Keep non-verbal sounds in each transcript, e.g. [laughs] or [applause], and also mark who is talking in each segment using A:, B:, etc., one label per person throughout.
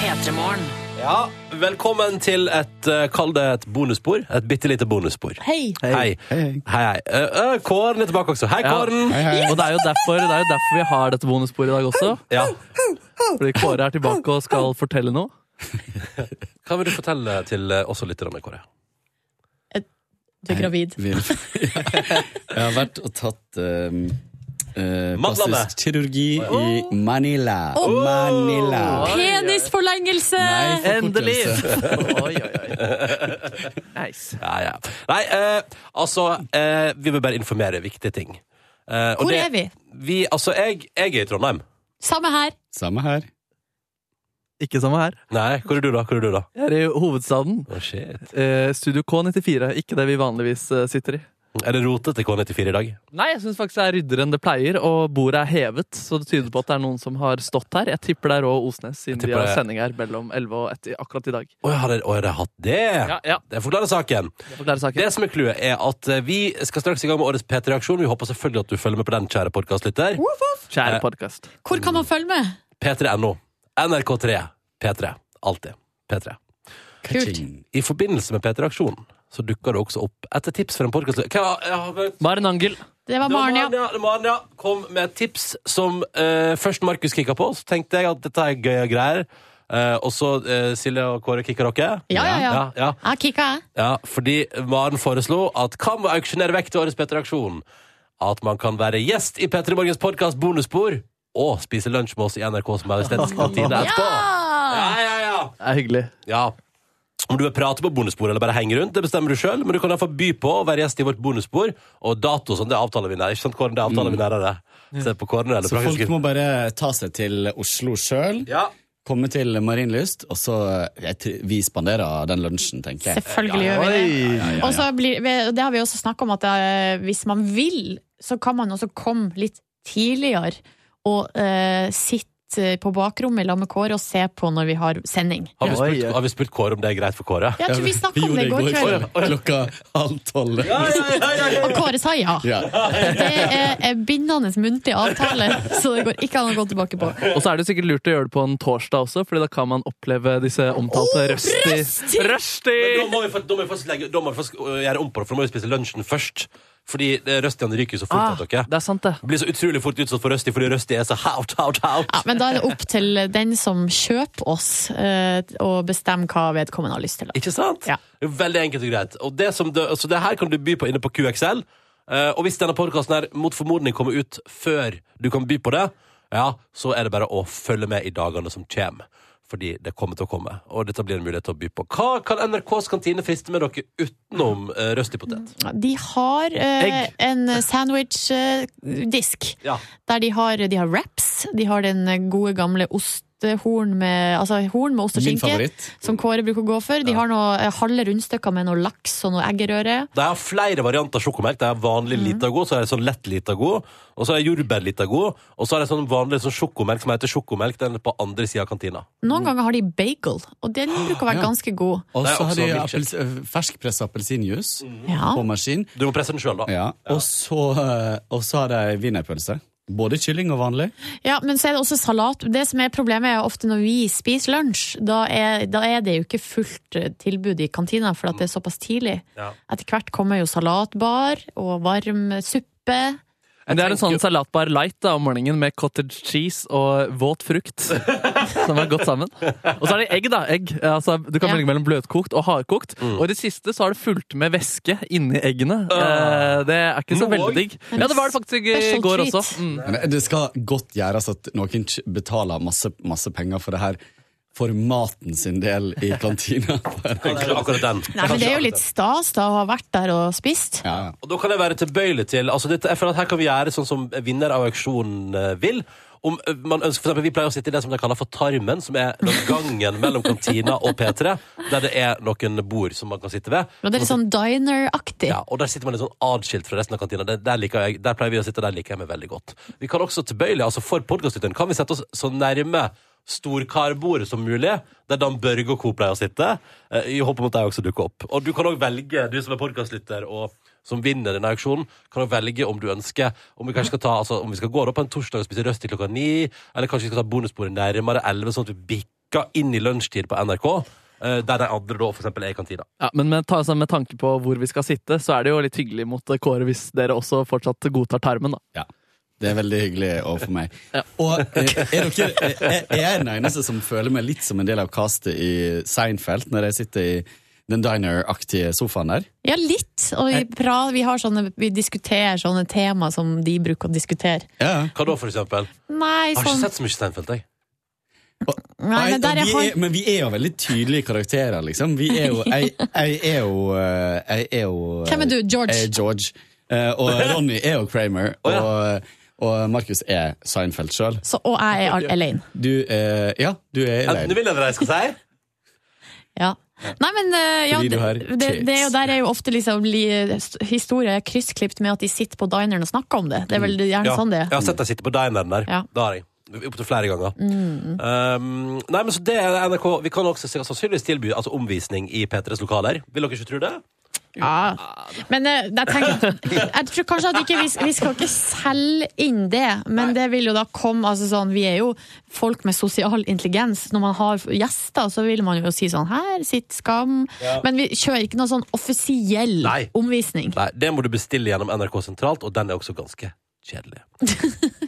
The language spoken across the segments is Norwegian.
A: Petremorgen.
B: Ja, velkommen til et, eh, kall det et bonusspor. Et bitte lite bonusspor.
A: Hei.
B: Hei. Hei,
C: Hei, hei.
B: hei. Eh, eh, Kåren er tilbake også. Hei,
D: Ja.
B: Kåren!
C: Hei, hei.
D: Og det er jo derfor, det er jo derfor vi har dette bonussporet i dag også.
B: Ja.
D: Fordi Kåre er tilbake og skal fortelle noe.
B: Hva vil du fortelle til eh, oss og lytterne, Kåre?
A: Du er gravid.
C: Vi-
A: [laughs]
C: Jeg har vært og tatt um, eh,
B: Madlane.
C: plastisk kirurgi i Manila. Manila.
A: Penisforlengelse!
C: Nei,
D: [laughs] Endelig!
C: forkortelse.
D: [laughs] Oi, oi, oi. Nice.
B: Ja, ja. Nei, eh, altså, eh, vi vil bare informere viktige ting. Eh, og
A: Hvor er vi?
B: Vi, altså, jeg, jeg er i Trondheim.
A: Samme her.
C: Samme her.
D: Ikke samme her.
B: Nei, hvor er du da? Hvor er du da?
D: Jeg er i hovedstaden.
B: Å, shit.
D: Eh, Studio K94. Ikke det vi vanligvis eh, sitter i.
B: Er det rotete K94 i dag?
D: Nei, jeg syns faktisk det er ryddere enn det pleier, og bordet er hevet. Så det tyder på at det er noen som har stått her. Jeg tipper det er Rå Osnes, siden
B: Jeg
D: de
B: tipper
D: har
B: det-
D: sending her mellom 11 og 1 i- akkurat i dag.
B: Å, jeg har det- å, jeg har hatt det?
D: Ja, ja.
B: Det forklarer saken.
D: Forklarer saken.
B: Det som er clouet, er at eh, vi skal straks i gang med årets P3-reaksjon. Vi håper selvfølgelig at du følger med på den, kjære podkastlytter.
D: Kjære podkast.
A: Hvor kan man følge med?
B: P3.no. NRK3. P3. Alltid. P3.
C: Kaching.
B: I forbindelse med P3-aksjonen så dukker det også opp etter tips fra en podkastlytter.
D: Maren Angel.
A: Det var Maren, ja.
B: Marnia kom med et tips som eh, først Markus kikka på. Så tenkte jeg at dette er gøye greier. Eh, og så eh, Silje og Kåre kikker dere.
A: Ja, ja, ja.
B: ja, ja.
A: Jeg kikka, jeg.
B: Ja, fordi Maren foreslo at kan vi auksjonere vekk til årets P3-aksjon? At man kan være gjest i P3 Morgens podkast Bonusspor og spise lunsj med oss i NRKs majestetiske kantine etterpå. Ja,
A: Ja!
B: ja, ja.
D: Det er hyggelig.
B: ja. Om du vil prate på bonusspor eller bare henge rundt, det bestemmer du sjøl. Men du kan iallfall by på å være gjest i vårt bonusspor. Og dato og sånn, det avtaler vi nær. Ikke sant, Kåren? Det avtaler vi nærere. Se på Kåren eller
C: Mm. Så folk
B: praktisk-
C: må bare ta seg til Oslo sjøl,
B: Ja.
C: komme til Marienlyst, og så eh, jeg, tr- Vi spanderer den lunsjen, tenker jeg.
A: Selvfølgelig gjør vi det. Og så blir, det har vi også snakka om, at eh, hvis man vil, så kan man også komme litt tidligere og eh, sitte på bakrommet i lag med Kåre og se på når vi har sending.
B: Har, vi spurt,
D: Oi.
B: har vi spurt Kåre om det er greit for Kåre?
A: Jeg tror vi snakka om det i går kveld,
C: Klokka halv tolv.
A: og Kåre sa ja.
C: Ja.
A: Det er en bindende muntlig avtale, så det går ikke an å gå tilbake på.
D: Og så er det sikkert lurt å gjøre det på en torsdag også, Fordi da kan man oppleve disse omtalte røsti. Røsti!
B: Men Da må vi, få- da må vi faktisk, legge, da må vi faktisk øh, gjøre om på det, for da må vi spise lunsjen først. Fordi eh, Røstian ryker jo så fort.
D: Ah,
B: at dere
D: det er sant, det.
B: blir så utrolig fort utsatt for Røsti fordi Røsti er så haut, haut, haut.
A: Ja, men da er det opp til den som kjøper oss, eh, å bestemme hva vedkommende har lyst til.
B: Ikke sant?
A: Ja.
B: Det er jo Veldig enkelt og greit. Og det som det, altså det her kan du by på inne på QXL. Eh, og hvis denne podkasten her mot formodning kommer ut før du kan by på det, ja, så er det bare å følge med i dagene som kommer. Fordi det kommer til å komme. Og dette blir en mulighet til å by på. Hva kan NRKs kantine friste med dere utenom uh, Røsti potet?
A: De har eh,
D: Egg.
A: en sandwich-disk.
B: Ja.
A: Der de har, de har wraps, de har den gode gamle ostehorn med, altså horn med ost og
C: Min
A: skinke,
C: favoritt.
A: som Kåre bruker å gå for. De har noe eh, halve rundstykker med noe laks og noe eggerøre.
B: De har flere varianter av sjokomelk. De har
A: Mhm.
B: vanlig Litago, så er det sånn lett Litago, og så er det jordbær-Litago, og så er det sånn vanlig sånn sjokomelk som heter sjokomelk. Den er på andre sida av kantina.
A: Noen ganger har de bagel, og den bruker å være
C: Mm. Ja.
A: ganske god.
C: Og
B: Det er
C: så har
B: også
C: de
B: milkshake.
C: appels- eh, ferskpressa appelsinjuice
A: Ja.
C: på maskin.
B: Du må presse den sjøl, da.
C: Ja. Og så, og så har de wienerpølse. Både kylling og vanlig.
A: ja, men så er det også salat. Det som er problemet er ofte når vi spiser lunsj, da er, da er det jo ikke fullt eh, tilbud i kantina, for at det er såpass tidlig.
B: Ja.
A: Etter hvert kommer jo salatbar og varm suppe.
D: Men det er en sånn
B: tenker-
D: salatbar light da, om morgenen med cottage cheese og våt frukt. Som er godt sammen. Og så er det egg, da. egg. Altså, du kan
A: Ja.
D: velge mellom bløtkokt og hardkokt. Og i det siste så har det fulgt med væske inni eggene. Eh, det er ikke så
B: Nå
D: veldig
B: òg?
D: digg. Ja, det var det faktisk i
A: Special
D: går
A: treat.
D: også. Mm.
C: Men det skal godt gjøres at noen k- betaler masse, masse penger for det her. For maten sin del i [laughs] kantina.
B: Akkurat den.
A: Nei, men Altså, det er jo litt stas da å ha vært der og spist.
C: Ja.
B: Og da kan jeg være tilbøyelig til altså dette, jeg føler at Her kan vi gjøre sånn som vinner av auksjonen eh, vil. Om eh, man ønsker, for eksempel, Vi pleier å sitte i det som de kaller for tarmen, som er den gangen mellom kantina og P3, der det er noen bord som man kan sitte ved.
A: Men det er litt sånn diner-aktig.
B: Ja, og der sitter man litt sånn adskilt fra resten av kantina. Der, der, liker jeg, der pleier vi å sitte, og der liker jeg meg veldig godt. Vi kan også tilbøyelig, altså for podcastlytteren, kan vi sette oss så nærme storkarbordet som mulig, der Dan Børge og co. pleier å sitte, eh, i håp om at de også dukker opp. Og du kan også velge, du som er podcastlytter og som vinner denne auksjonen, kan også velge om du ønsker, om vi kanskje skal ta, altså om vi skal gå da på en torsdag og spise røst til klokka ni, eller kanskje vi skal ta bonusbordet nærmere elve, sånn at vi bikker uka inn i lunsjtid på NRK, eh, der de andre da for eksempel er i kantina.
D: Ja, men med, ta, sånn med tanke på hvor vi skal sitte, så er det jo litt hyggelig mot eh, Kåre hvis dere også fortsatt godtar tarmen, da.
C: Ja. Det er veldig hyggelig overfor meg. Og eh, er dere, eh, er jeg er den eneste som føler meg litt som en del av castet i Seinfeld, når jeg sitter i den diner-aktige sofaen der?
A: Ja, litt. Og vi, pra, vi, har sånne, vi diskuterer sånne tema som de bruker å diskutere.
C: Ja.
B: Hva da, for eksempel?
A: Nei,
B: Jeg har ikke
A: sånn
B: sett så mye Steinfeld, jeg.
A: Nei, men der
C: og
A: jeg
C: vi
A: har
C: er, men vi er jo veldig tydelige karakterer, liksom. Vi er jo, jeg, jeg er jo, eh, jeg er jo eh,
A: Hvem er du? George?
C: Jeg er George. Eh,
B: [laughs]
C: Og Ronny er jo Kramer. Og, og Markus er Seinfeld sjøl.
A: så, Og jeg er Elaine.
C: Du er Ja, du er
B: Enten
C: Elaine.
B: vil eller ei, skal jeg si.
A: Ja. Nei, men eh, ja,
C: Fordi du har
A: det, det, det er jo,
C: tits.
A: der er jo ofte liksom li- historier kryssklipt med at de sitter på dineren og snakker om det. Det [laughs] er vel gjerne sånn det
B: Jeg
A: er.
B: har sett deg sitte på dineren der.
A: Ja. Mm.
B: Det har jeg. Opptil flere ganger. Um, nei, men så det er NRK. Vi kan også se- sannsynligvis tilby altså, omvisning i P3s lokaler. Vil dere ikke tro det?
A: Ja. Men eh, jeg, tenker, jeg tror kanskje at ikke, vi, vi skal ikke selge inn det, men det vil jo da komme altså sånn, Vi er jo folk med sosial intelligens. Når man har gjester, så vil man jo si sånn Her sitter Skam. Men vi kjører ikke noen sånn offisiell
B: Nei.
A: omvisning.
B: Nei, det må du bestille gjennom NRK sentralt, og den er også ganske
A: [laughs]
B: kjedelig.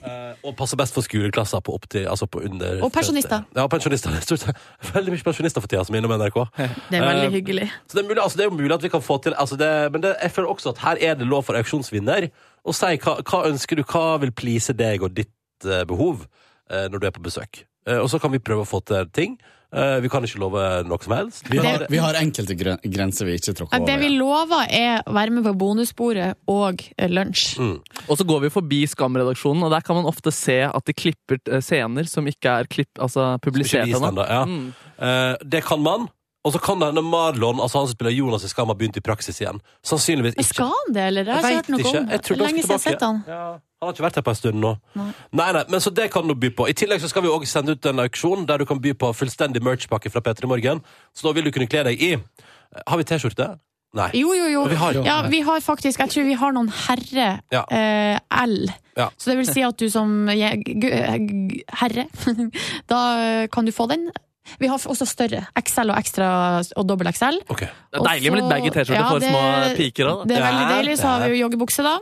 B: Eh, og passer best for skoleklasser på opptil altså på under
A: Og pensjonister.
B: Ja, pensjonister. [laughs] Stort sett. Veldig mye pensjonister for tida som er innom NRK.
A: Det er veldig
B: Eh,
A: hyggelig.
B: Så det er, mulig, altså det er jo mulig at vi kan få til altså det, Men det, jeg føler også at her er det lov for auksjonsvinner å si hva, hva ønsker du, hva vil please deg og ditt eh, behov eh, når du er på besøk. Eh, og så kan vi prøve å få til ting. Eh, vi kan ikke love noe som helst.
C: Vi har, vi har enkelte gren- grenser vi ikke tråkker
A: Nei,
C: over.
A: det vi lover, er å være med på bonusbordet og eh, lunsj.
D: Og så går vi forbi Skam-redaksjonen, og der kan man ofte se at de klipper eh, scener som ikke er klipp, altså,
B: Ikke
D: publisert Mm.
B: vist
D: ennå.
B: ennå, ja. Eh, det kan man. Og så kan denne Marlon, altså han som spiller Jonas i Skam, ha begynt i praksis igjen. Sannsynligvis
A: Men
B: ikke.
A: skal han det, eller? Jeg har ikke
B: Jeg
A: hørt
B: vet
A: noe
B: ikke.
A: om
B: Jeg
A: det.
B: trodde han
A: Lenge siden jeg
B: skulle
A: har sett han.
B: tilbake. Ja, han har ikke vært her på en stund nå.
A: Nei.
B: Nei, nei, men Så det kan du by på. I tillegg så skal vi også sende ut en auksjon der du kan by på fullstendig merch-pakke fra P3 Morgen. Så da vil du kunne kle deg i eh, Har vi T-skjorte? Nei.
A: Jo, jo, jo.
B: Vi har-
A: ja, vi har faktisk Jeg tror vi har noen herre
B: Ja.
A: eh, L.
B: Ja.
A: Så det vil si at du som jeg, g, g, herre, [laughs] da eh, kan du få den. Vi har også større. XL og ekstra og dobbel XL.
B: Ok.
D: Det er deilig med litt baggy T-skjorte
A: Ja,
D: for
A: det-
D: små piker. Da.
A: Det er veldig
B: Ja,
A: deilig. Så har vi jo joggebukse, da.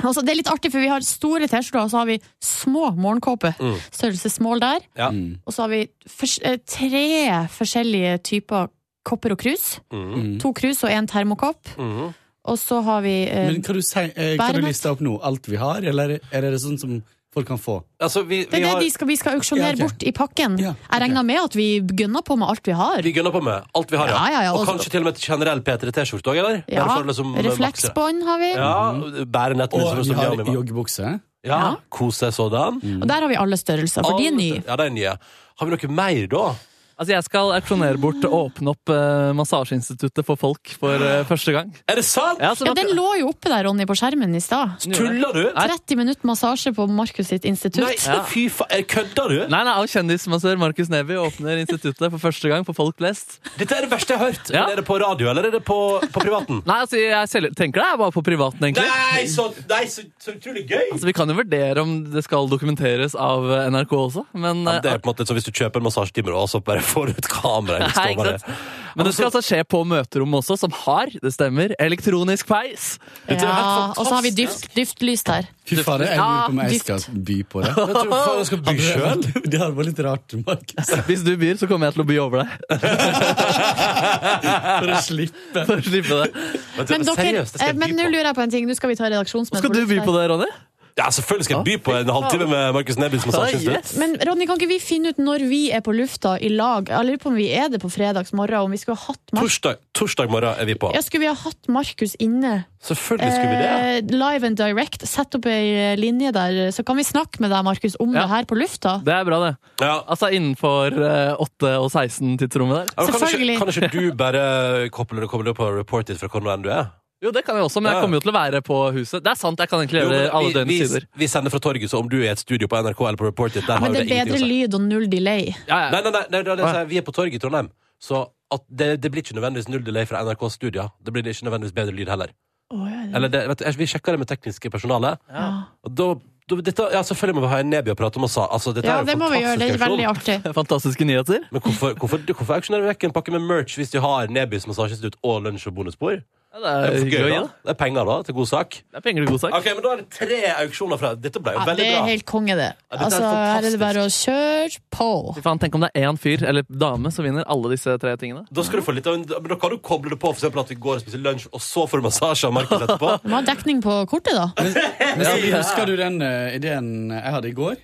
A: Og så- det er litt artig, for vi har store T-skjorter, og så har vi små morgenkåper.
B: Mm.
A: Størrelse small der.
B: Ja.
C: Mm.
A: Og så har vi fors- eh, tre forskjellige typer kopper og krus.
B: Mm.
A: To krus og én termokopp.
B: Mhm.
A: Og så har vi eh,
C: Men kan du, si, eh, kan
A: Bæremat.
C: du liste opp nå alt vi har, eller er det sånn som folk kan få?
B: Altså, vi,
A: Det
B: vi,
A: er det
B: har,
A: de skal, vi skal auksjonere
C: Ja, ok.
A: bort i pakken.
C: Ja,
A: Jeg
C: ok.
A: regner med at vi gønner på med alt vi har.
B: vi gønner på med alt vi har,
A: Ja, ja, ja,
B: og
A: også-
B: kanskje til og med et generell P3T-skjorte òg, eller?
A: Ja,
B: Bare for å liksom, eh, makse det.
A: refleksbånd har vi.
B: Ja, bære
C: Og
B: nettmusen
C: vi
B: som
C: har
B: Jamima.
C: joggebukse.
B: Ja, kose sådan.
A: Og der har vi alle størrelser, Mm. for de er nye.
B: Ja, de er nye. Har vi noe mer, da?
D: Altså, jeg skal auksjonere bort og åpne opp eh, massasjeinstituttet for folk for eh, første gang.
B: Er det sant?!
D: Ja, så
A: Ja,
D: da-
A: den lå jo oppe der, Ronny, på skjermen i stad.
B: Tuller du?!
A: 30 minutt massasje på Markus sitt
B: Nei,
A: institutt.
D: Ja.
B: fy faen! Kødder du?!
D: Nei, nei, av kjendismassør Markus Neby åpner instituttet for første gang for folk flest.
B: Dette er det verste jeg har hørt!
D: Ja.
B: Men Er det på radio, eller er det på, på
D: [laughs]
B: privaten?
D: Nei, altså, jeg selv, tenker det er bare på privaten, egentlig.
B: Nei, så, nei, så, så utrolig gøy!
D: Altså, vi kan jo vurdere om det skal dokumenteres av eh, NRK også, men
B: Ja,
D: eh,
B: det er på en måte litt som hvis du kjøper en massasjetime, og så bare får du et kamera.
D: Nei,
B: eller står
D: ikke
B: bare-
D: sant? Men det skal altså skje på møterommet også, som har, det stemmer, elektronisk peis.
B: Dette er jo helt
A: Ja, og så har vi
B: fantastisk.
A: dyft, dyftlys der.
C: Fy fader, jeg lurer på om jeg
A: dypt.
C: skal by på det.
B: [laughs] Jeg tror faen jeg skal by sjøl.
C: [laughs] Det hadde vært litt rart, Markus.
D: Hvis du byr, så kommer jeg til å by over deg. [laughs]
B: [laughs]
C: For å slippe.
D: For å slippe det.
A: Men, dere,
B: Seriøst, det skal
A: eh,
B: jeg
A: men
B: by
A: nå
B: på.
A: lurer jeg på en ting. Nå skal vi ta redaksjonsmøte.
D: Skal du by på det, Ronny?
B: Ja, selvfølgelig skal jeg by på en halvtime med Markus Nebys massasjeinstitutt.
D: yes.
A: Men Ronny, kan ikke vi finne ut når vi er på lufta i lag? Jeg lurer på om vi er det på fredagsmorgen, om vi skulle ha hatt Markus
B: Torsdag, torsdag morgen er vi på.
A: ja, Skulle vi ha hatt Markus inne
B: Selvfølgelig skulle vi det.
A: Eh, live and direct. Sett opp ei eh, linje der, så kan vi snakke med deg, Markus, om
D: Ja.
A: det her på lufta.
D: Det er bra, det.
B: Ja,
D: Altså innenfor eh, 8 og 16-tidsrommet der.
B: Ja, men
A: Selvfølgelig.
B: Kan ikke, kan ikke du bare koble, koble det på reportet fra hvor nå enn du er?
D: Jo, det kan jeg også, men jeg
B: Ja.
D: kommer jo til å være på huset. Det er sant, jeg kan egentlig gjøre
B: Jo,
D: alle
B: men vi,
D: døgnets
B: vi,
D: sider.
B: vi sender fra torget, så om du er i et studio på NRK eller på reportet der har
A: Men
B: jo
A: det er bedre
B: ingenting å si.
A: lyd og null delay.
D: Ja, ja.
B: Nei, nei, nei, nei, det er det jeg sier. vi er på torget i Trondheim. Så at det, det blir ikke nødvendigvis null delay fra NRKs studier. Det blir ikke nødvendigvis bedre lyd heller.
A: Å, ja, ja.
B: Eller det, vet du, Vi sjekker det med tekniske personale,
A: Mm. Ja.
B: og da dette, ja, selvfølgelig må vi ha en Neby og prate om og sa altså, dette
A: Ja,
B: er jo
A: det må vi gjøre. Det er
B: fantastisk
A: veldig
B: auksjon.
A: artig.
D: [laughs] Fantastiske nyheter.
B: Men hvorfor, hvorfor, hvorfor auksjonerer vi vekk en pakke med merch hvis de har Nebys massasjestutt og lunsj og bonusbord?
D: Ja,
B: Det
D: det
A: Eh,
B: er,
D: er gøy,
B: da.
D: da.
B: det er penger da, til god sak.
D: Det er penger til god sak.
B: Ok, men Da er det tre auksjoner fra Dette ble jo
A: Ja, det
B: veldig
A: er
B: bra.
A: helt konge, det.
B: Ja, dette er
A: Altså, her er det bare å kjøre på.
D: Fy faen, Tenk om det er én fyr eller dame som vinner alle disse tre tingene.
B: Da, skal du få litt av en, men da kan du koble det på for eksempel at vi går og spiser lunsj, og så får du massasje av Markus etterpå.
A: Du må ha dekning på kortet, da.
C: Men Silje, husker du den eh, ideen jeg hadde i går?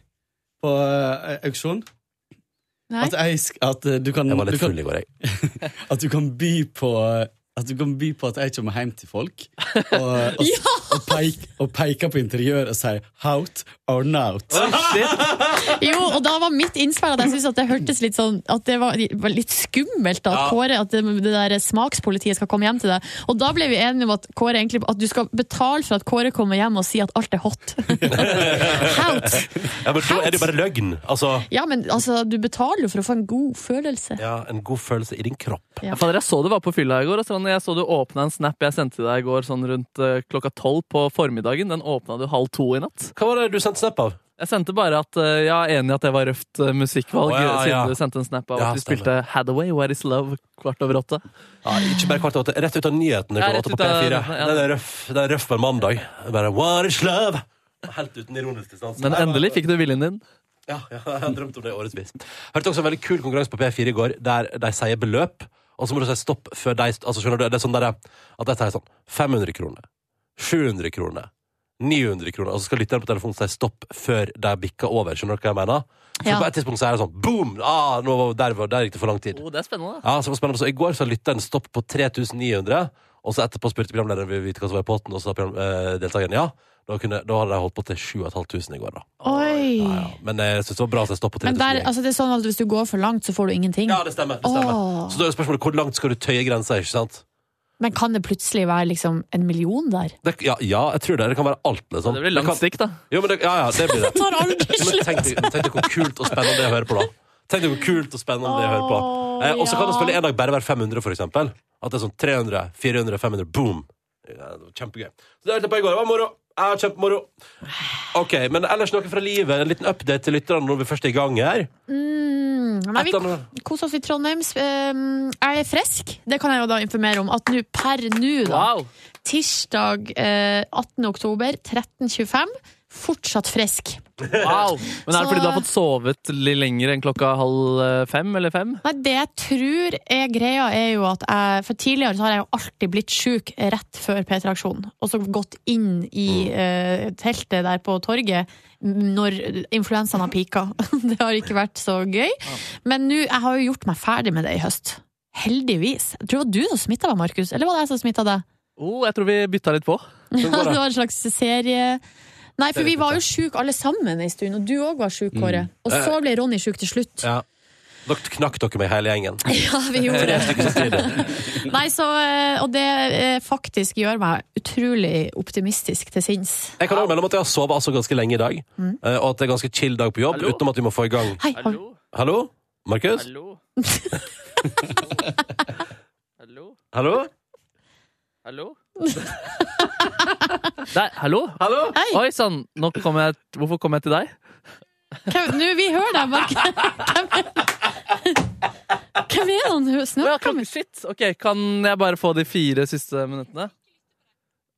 C: På eh, auksjon?
A: Nei?
B: Altså,
C: At, jeg, sk- at, eh, du kan,
B: Jeg var
C: du
B: litt
C: kan,
B: full i går, jeg.
C: at du kan by på eh, at du kan by på at jeg kommer hjem til folk og,
A: [laughs]
C: og, og, peik, og peker på interiør og sier 'out or not'.
A: Jo, og da var mitt innspill at jeg syntes at det hørtes litt sånn At det var var litt skummelt da,
B: Ja.
A: at Kåre At det, det der smakspolitiet skal komme hjem til deg. Og da ble vi enige om at Kåre egentlig At du skal betale for at Kåre kommer hjem og sier at alt er
B: [laughs]
A: hot. Hout!
B: [laughs] Ja, men da er det jo bare løgn. Altså,
A: Ja, men altså, du betaler jo for å få en god følelse.
B: ja, en god følelse i din kropp.
A: Ja.
D: Ja. Fader, jeg så du var på fylla i går. Og Strand, jeg så du åpna en snap jeg sendte til deg i går sånn rundt eh, klokka tolv på formiddagen. Den åpna du halv to i natt.
B: Hva var det du sendte snap av?
D: Jeg sendte bare at eh, jeg er enig i at det var røft eh, musikkvalg,
B: Å, ja, ja.
D: siden du sendte en snap av
B: Ja,
D: at du
B: stemmer.
D: spilte Hathaway, Where Is Love, kvart over åtte.
B: Ja, ikke bare kvart over åtte, rett ut av nyhetene.
D: Ja,
B: klokka
D: rett
B: åtte
D: ut
B: på
D: av
B: P4.
D: nyhetene, ja.
B: Den er røff Den er røff på en mandag. Bare what is love? Helt uten ironisk distanse.
D: Men endelig fikk du viljen din.
B: Ja, [laughs] ja, jeg har drømt om det i årevis. Hørte også en veldig kul konkurranse på P4 i går, der de sier beløp, og så må du si stopp før de Altså, skjønner du, det er sånn der at de sier sånn 500 kroner, 700 kroner, 900 kroner, og så skal lytteren på telefonen si stopp før de bikker over. Skjønner dere hva jeg mener? For
A: Ja.
B: på et tidspunkt så er det sånn boom! Ah, nå, var- der, var- der gikk det for lang tid.
D: Oh, det er spennende. da.
B: Ja, så det var spennende. Så i går så lytta en stopp på 3900, og så etterpå spurte programlederen vil vi vite hva som var i potten, og så sa program- eh, deltakeren ja. Da, kunne, da hadde de holdt på til 7500 i går, da.
A: Oi!
B: Ja, ja. Men eh, jeg synes det var bra at jeg stopp på 3000.
A: Men der, altså, det er sånn at hvis du går for langt, så får du ingenting.
B: Ja, det stemmer. Det stemmer.
A: Åh.
B: Så da er jo spørsmålet hvor langt skal du tøye grensa, ikke sant?
A: Men kan det plutselig være liksom en million der?
B: Det, ja, ja, jeg tror det. Det kan være alt, liksom.
D: Det blir langt
B: kan,
D: stikk, da.
B: jo, men det, ja, ja, det blir
A: [laughs]
B: det.
A: Tar aldri
B: Men tenk deg- tenk deg hvor kult og spennende det er å høre på, da. Tenk deg hvor kult og spennende det er å høre på.
A: Åh,
B: Eh, og så kan det
A: ja.
B: spille en dag bare være 500, for eksempel. At det er sånn 300, 400, 500, boom. Ja, det var kjempegøy. Så det hørte jeg på i går. Det var moro. Ja, kjempemoro. Ok, men ellers noe fra livet? En liten update til lytterne når vi først er i gang her?
A: Nei,
B: Et eller annet.
A: vi koser oss i Trondheim. Ehm, Jeg er frisk, det kan jeg jo da informere om. At nå per nå, da,
D: Wow!
A: tirsdag eh, 18. oktober 13.25, fortsatt frisk.
D: wow. Men er det
A: Så-
D: fordi du har fått sovet litt lenger enn klokka halv eh, fem eller fem?
A: Nei, det jeg tror er greia, er jo at jeg For tidligere så har jeg jo alltid blitt sjuk rett før P3-aksjonen. Og så gått inn i eh, teltet der på torget når influensaen har pika. [laughs] det har ikke vært så gøy. Men nå, jeg har jo gjort meg ferdig med det i høst. Heldigvis. Jeg tror det var du som smitta meg, Markus. Eller var det jeg som smitta deg?
D: Oh, jeg tror vi bytta litt på.
B: Sånn
A: Ja,
B: går
A: det
B: det.
A: var en slags serie Nei, for vi var jo sjuke alle sammen en stund, og du òg var sjuk, Kåre. Og så ble Ronny sjuk til slutt.
B: Mm. Eh, Ja. Dere knakk dere med hele gjengen.
A: [laughs] Ja, vi gjorde det.
B: Ikke så strid.
A: [laughs] Nei, så, eh, og det eh, faktisk gjør meg utrolig optimistisk til sinns.
B: Jeg kan også melde om at jeg har sovet altså ganske lenge i dag, eh, og at det er ganske chill dag på jobb,
D: Mm. Hallo?
B: utenom at vi må få i gang
A: Hei, har-
B: Hallo? Markus?
D: [laughs] Hallo? Hallo?
B: Hallo?
D: [laughs] Hallo? Nei, hallo?
B: Hallo?
A: hei,
D: Oi sann, nå kom jeg Hvorfor kom jeg til deg?
A: hvem, nå, vi hører deg, Mark. [laughs] Hvem er det han hø-
D: Å ja,
A: snakker
D: klok-
A: med?
D: shit, ok, kan jeg bare få de fire siste minuttene?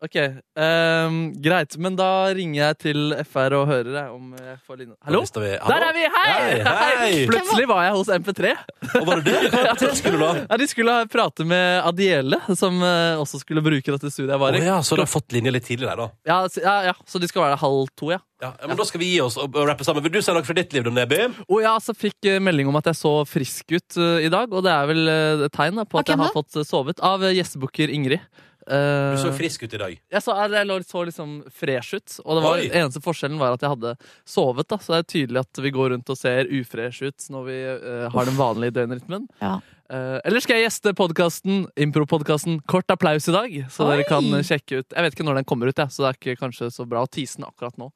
D: Ok, ehm, greit, men da ringer jeg til FR og hører jeg om jeg får linja. Hallo?
B: Da vi- hallo?
D: Der er vi! Hei!
B: Hei, hei!
D: Plutselig var jeg hos MP3.
B: Og var det
D: [laughs]
B: det? Hva var det skulle du da?
D: Ja, de skulle ha- prate med Adiele, som eh, også skulle bruke dette studiet jeg var
B: Å
D: i.
B: ja, så du har fått linja litt tidlig der, da.
D: Ja, s- ja, ja, så de skal være der halv to, ja.
B: Ja, ja, men Da skal vi gi oss og, og rappe sammen. Vil du si noe fra ditt liv, da, Neby?
D: Og ja, så fikk eh, melding om at jeg så frisk ut eh, i dag, og det er vel eh, et tegn da, på at
A: Ok,
D: jeg har
A: hva?
D: fått eh, sovet, av eh, gjestebooker Ingrid. Eh,
B: Du så frisk ut i dag.
D: jeg så, jeg lå- så liksom fresh ut, og det var,
B: Oi.
D: eneste forskjellen var at jeg hadde sovet. da, Så det er tydelig at vi går rundt og ser ufresh ut når vi eh, har den vanlige døgnrytmen.
A: Ja.
D: Eh, eller skal jeg gjeste podkasten, impropodkasten Kort applaus i dag, så
A: Oi.
D: dere kan eh, sjekke ut. Jeg vet ikke når den kommer ut, jeg, så det er ikke kanskje så bra å tease den akkurat nå.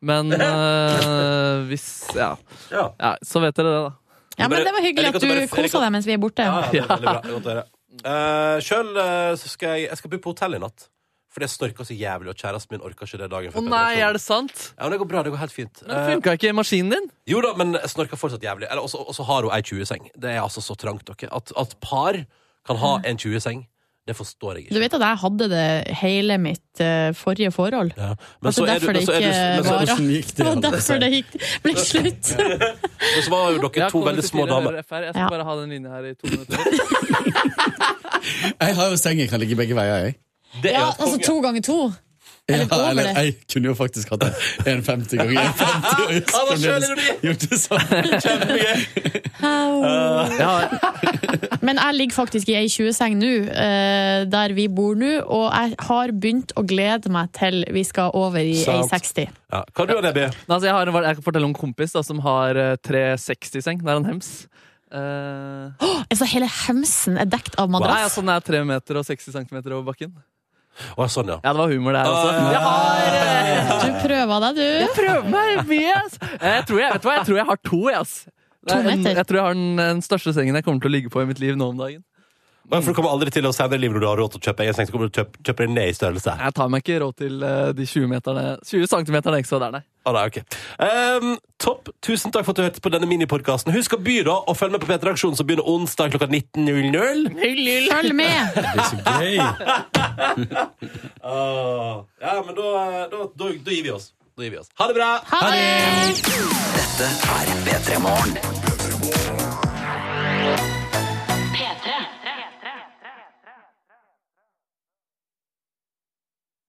B: [laughs]
D: Men eh, hvis ja.
B: Ja.
D: ja, så vet dere det, da.
A: ja, men det var
B: Jeg
A: hyggelig at
B: liker at du
A: du
B: bare- jeg liker-
A: kosa deg mens vi er borte.
B: Ja, ja, det er veldig bra. Det er Godt å høre. Eh, Sjøl eh, så skal jeg, jeg skal bo på hotell i natt. For det snorka så jævlig, og kjæresten min orka ikke det dagen
D: Å
B: før.
D: nei,
B: penetrasjon.
D: er det sant?
B: Ja, men det går bra. Det går helt fint.
D: Men
B: Eh,
D: funka ikke maskinen din?
B: jo da, men jeg snorker fortsatt jævlig. Eller, også, også har hun ei 20-seng. Det er altså så trangt, dere. At, at par kan ha en 20-seng, det forstår jeg
A: Du
B: ikke.
A: vet at jeg hadde det hele mitt eh, forrige forhold.
B: Ja.
A: At Altså, det er derfor det
B: men så er du-
A: ikke
B: men så,
A: varer.
C: Hvordan gikk
A: Det
C: det?
A: var
C: Anders?
A: derfor det gikk, ble slutt.
B: men så var jo dere
D: Jeg
B: to
D: kommer
B: veldig
D: til
B: små
D: fire
B: damer.
D: hører FR. Jeg skal
A: Ja.
D: bare ha den linja her i to [laughs] minutter.
C: Jeg har jo seng jeg kan ligge begge veier, jeg.
B: Det er
A: Ja,
B: jo konge.
A: altså to ganger to. Eller
C: Ja,
A: over
C: eller,
A: det.
C: jeg kunne jo faktisk hatt det. En 50 ganger en 50
A: [laughs]
C: og just
B: Han har
C: fremdeles
B: selvironi!
C: gjort det samme.
B: Kjempegøy!
D: Jeg har,
A: Men jeg ligger faktisk i ei 20-seng nå, eh, der vi bor nå, og jeg har begynt å glede meg til vi skal over i ei
B: Sant.
A: 60.
B: Ja. Hva du, Nebbi?
D: Nei, altså, jeg, har en, jeg kan fortelle om en kompis da, som har eh, 360-seng. Det er en hems. Eh,
A: Altså hele hemsen er dekt av
D: nei,
A: madrass.
D: altså, den er 3 meter og 60 centimeter over bakken.
B: Å, sånn, ja.
D: Ja, det var humor, det her også.
B: Ah, ja.
D: Jeg har [laughs] eh,
A: Du prøver deg, du.
D: prøver meg mye, ass! Jeg tror jeg, vet du hva, jeg tror jeg har to, jeg, ass. Det er
A: To
D: en-
A: meter?
D: Jeg tror jeg har den, den største sengen jeg kommer til å ligge på i mitt liv nå om dagen.
B: Men For du kommer aldri til å senere i livet når du har råd til å kjøpe egen seng, så kommer du til å kjøpe, kjøpe den ned i størrelse.
D: Jeg tar meg ikke råd til eh, de 20, meterne, 20 centimeterne ekstra der, nei.
B: Ah, nei, ok. Ehm, topp. Tusen takk for at du hørte på denne minipodkasten. Husk å by, da, og følg med på P3 Aksjon, som begynner onsdag klokka 19.00.
A: Følg med!
C: Det er så gøy.
B: Ah, ja, men da, da, da, da gir vi oss. Da gir vi oss. Ha det bra!
A: Ha det!
E: Dette er P3 Morgen.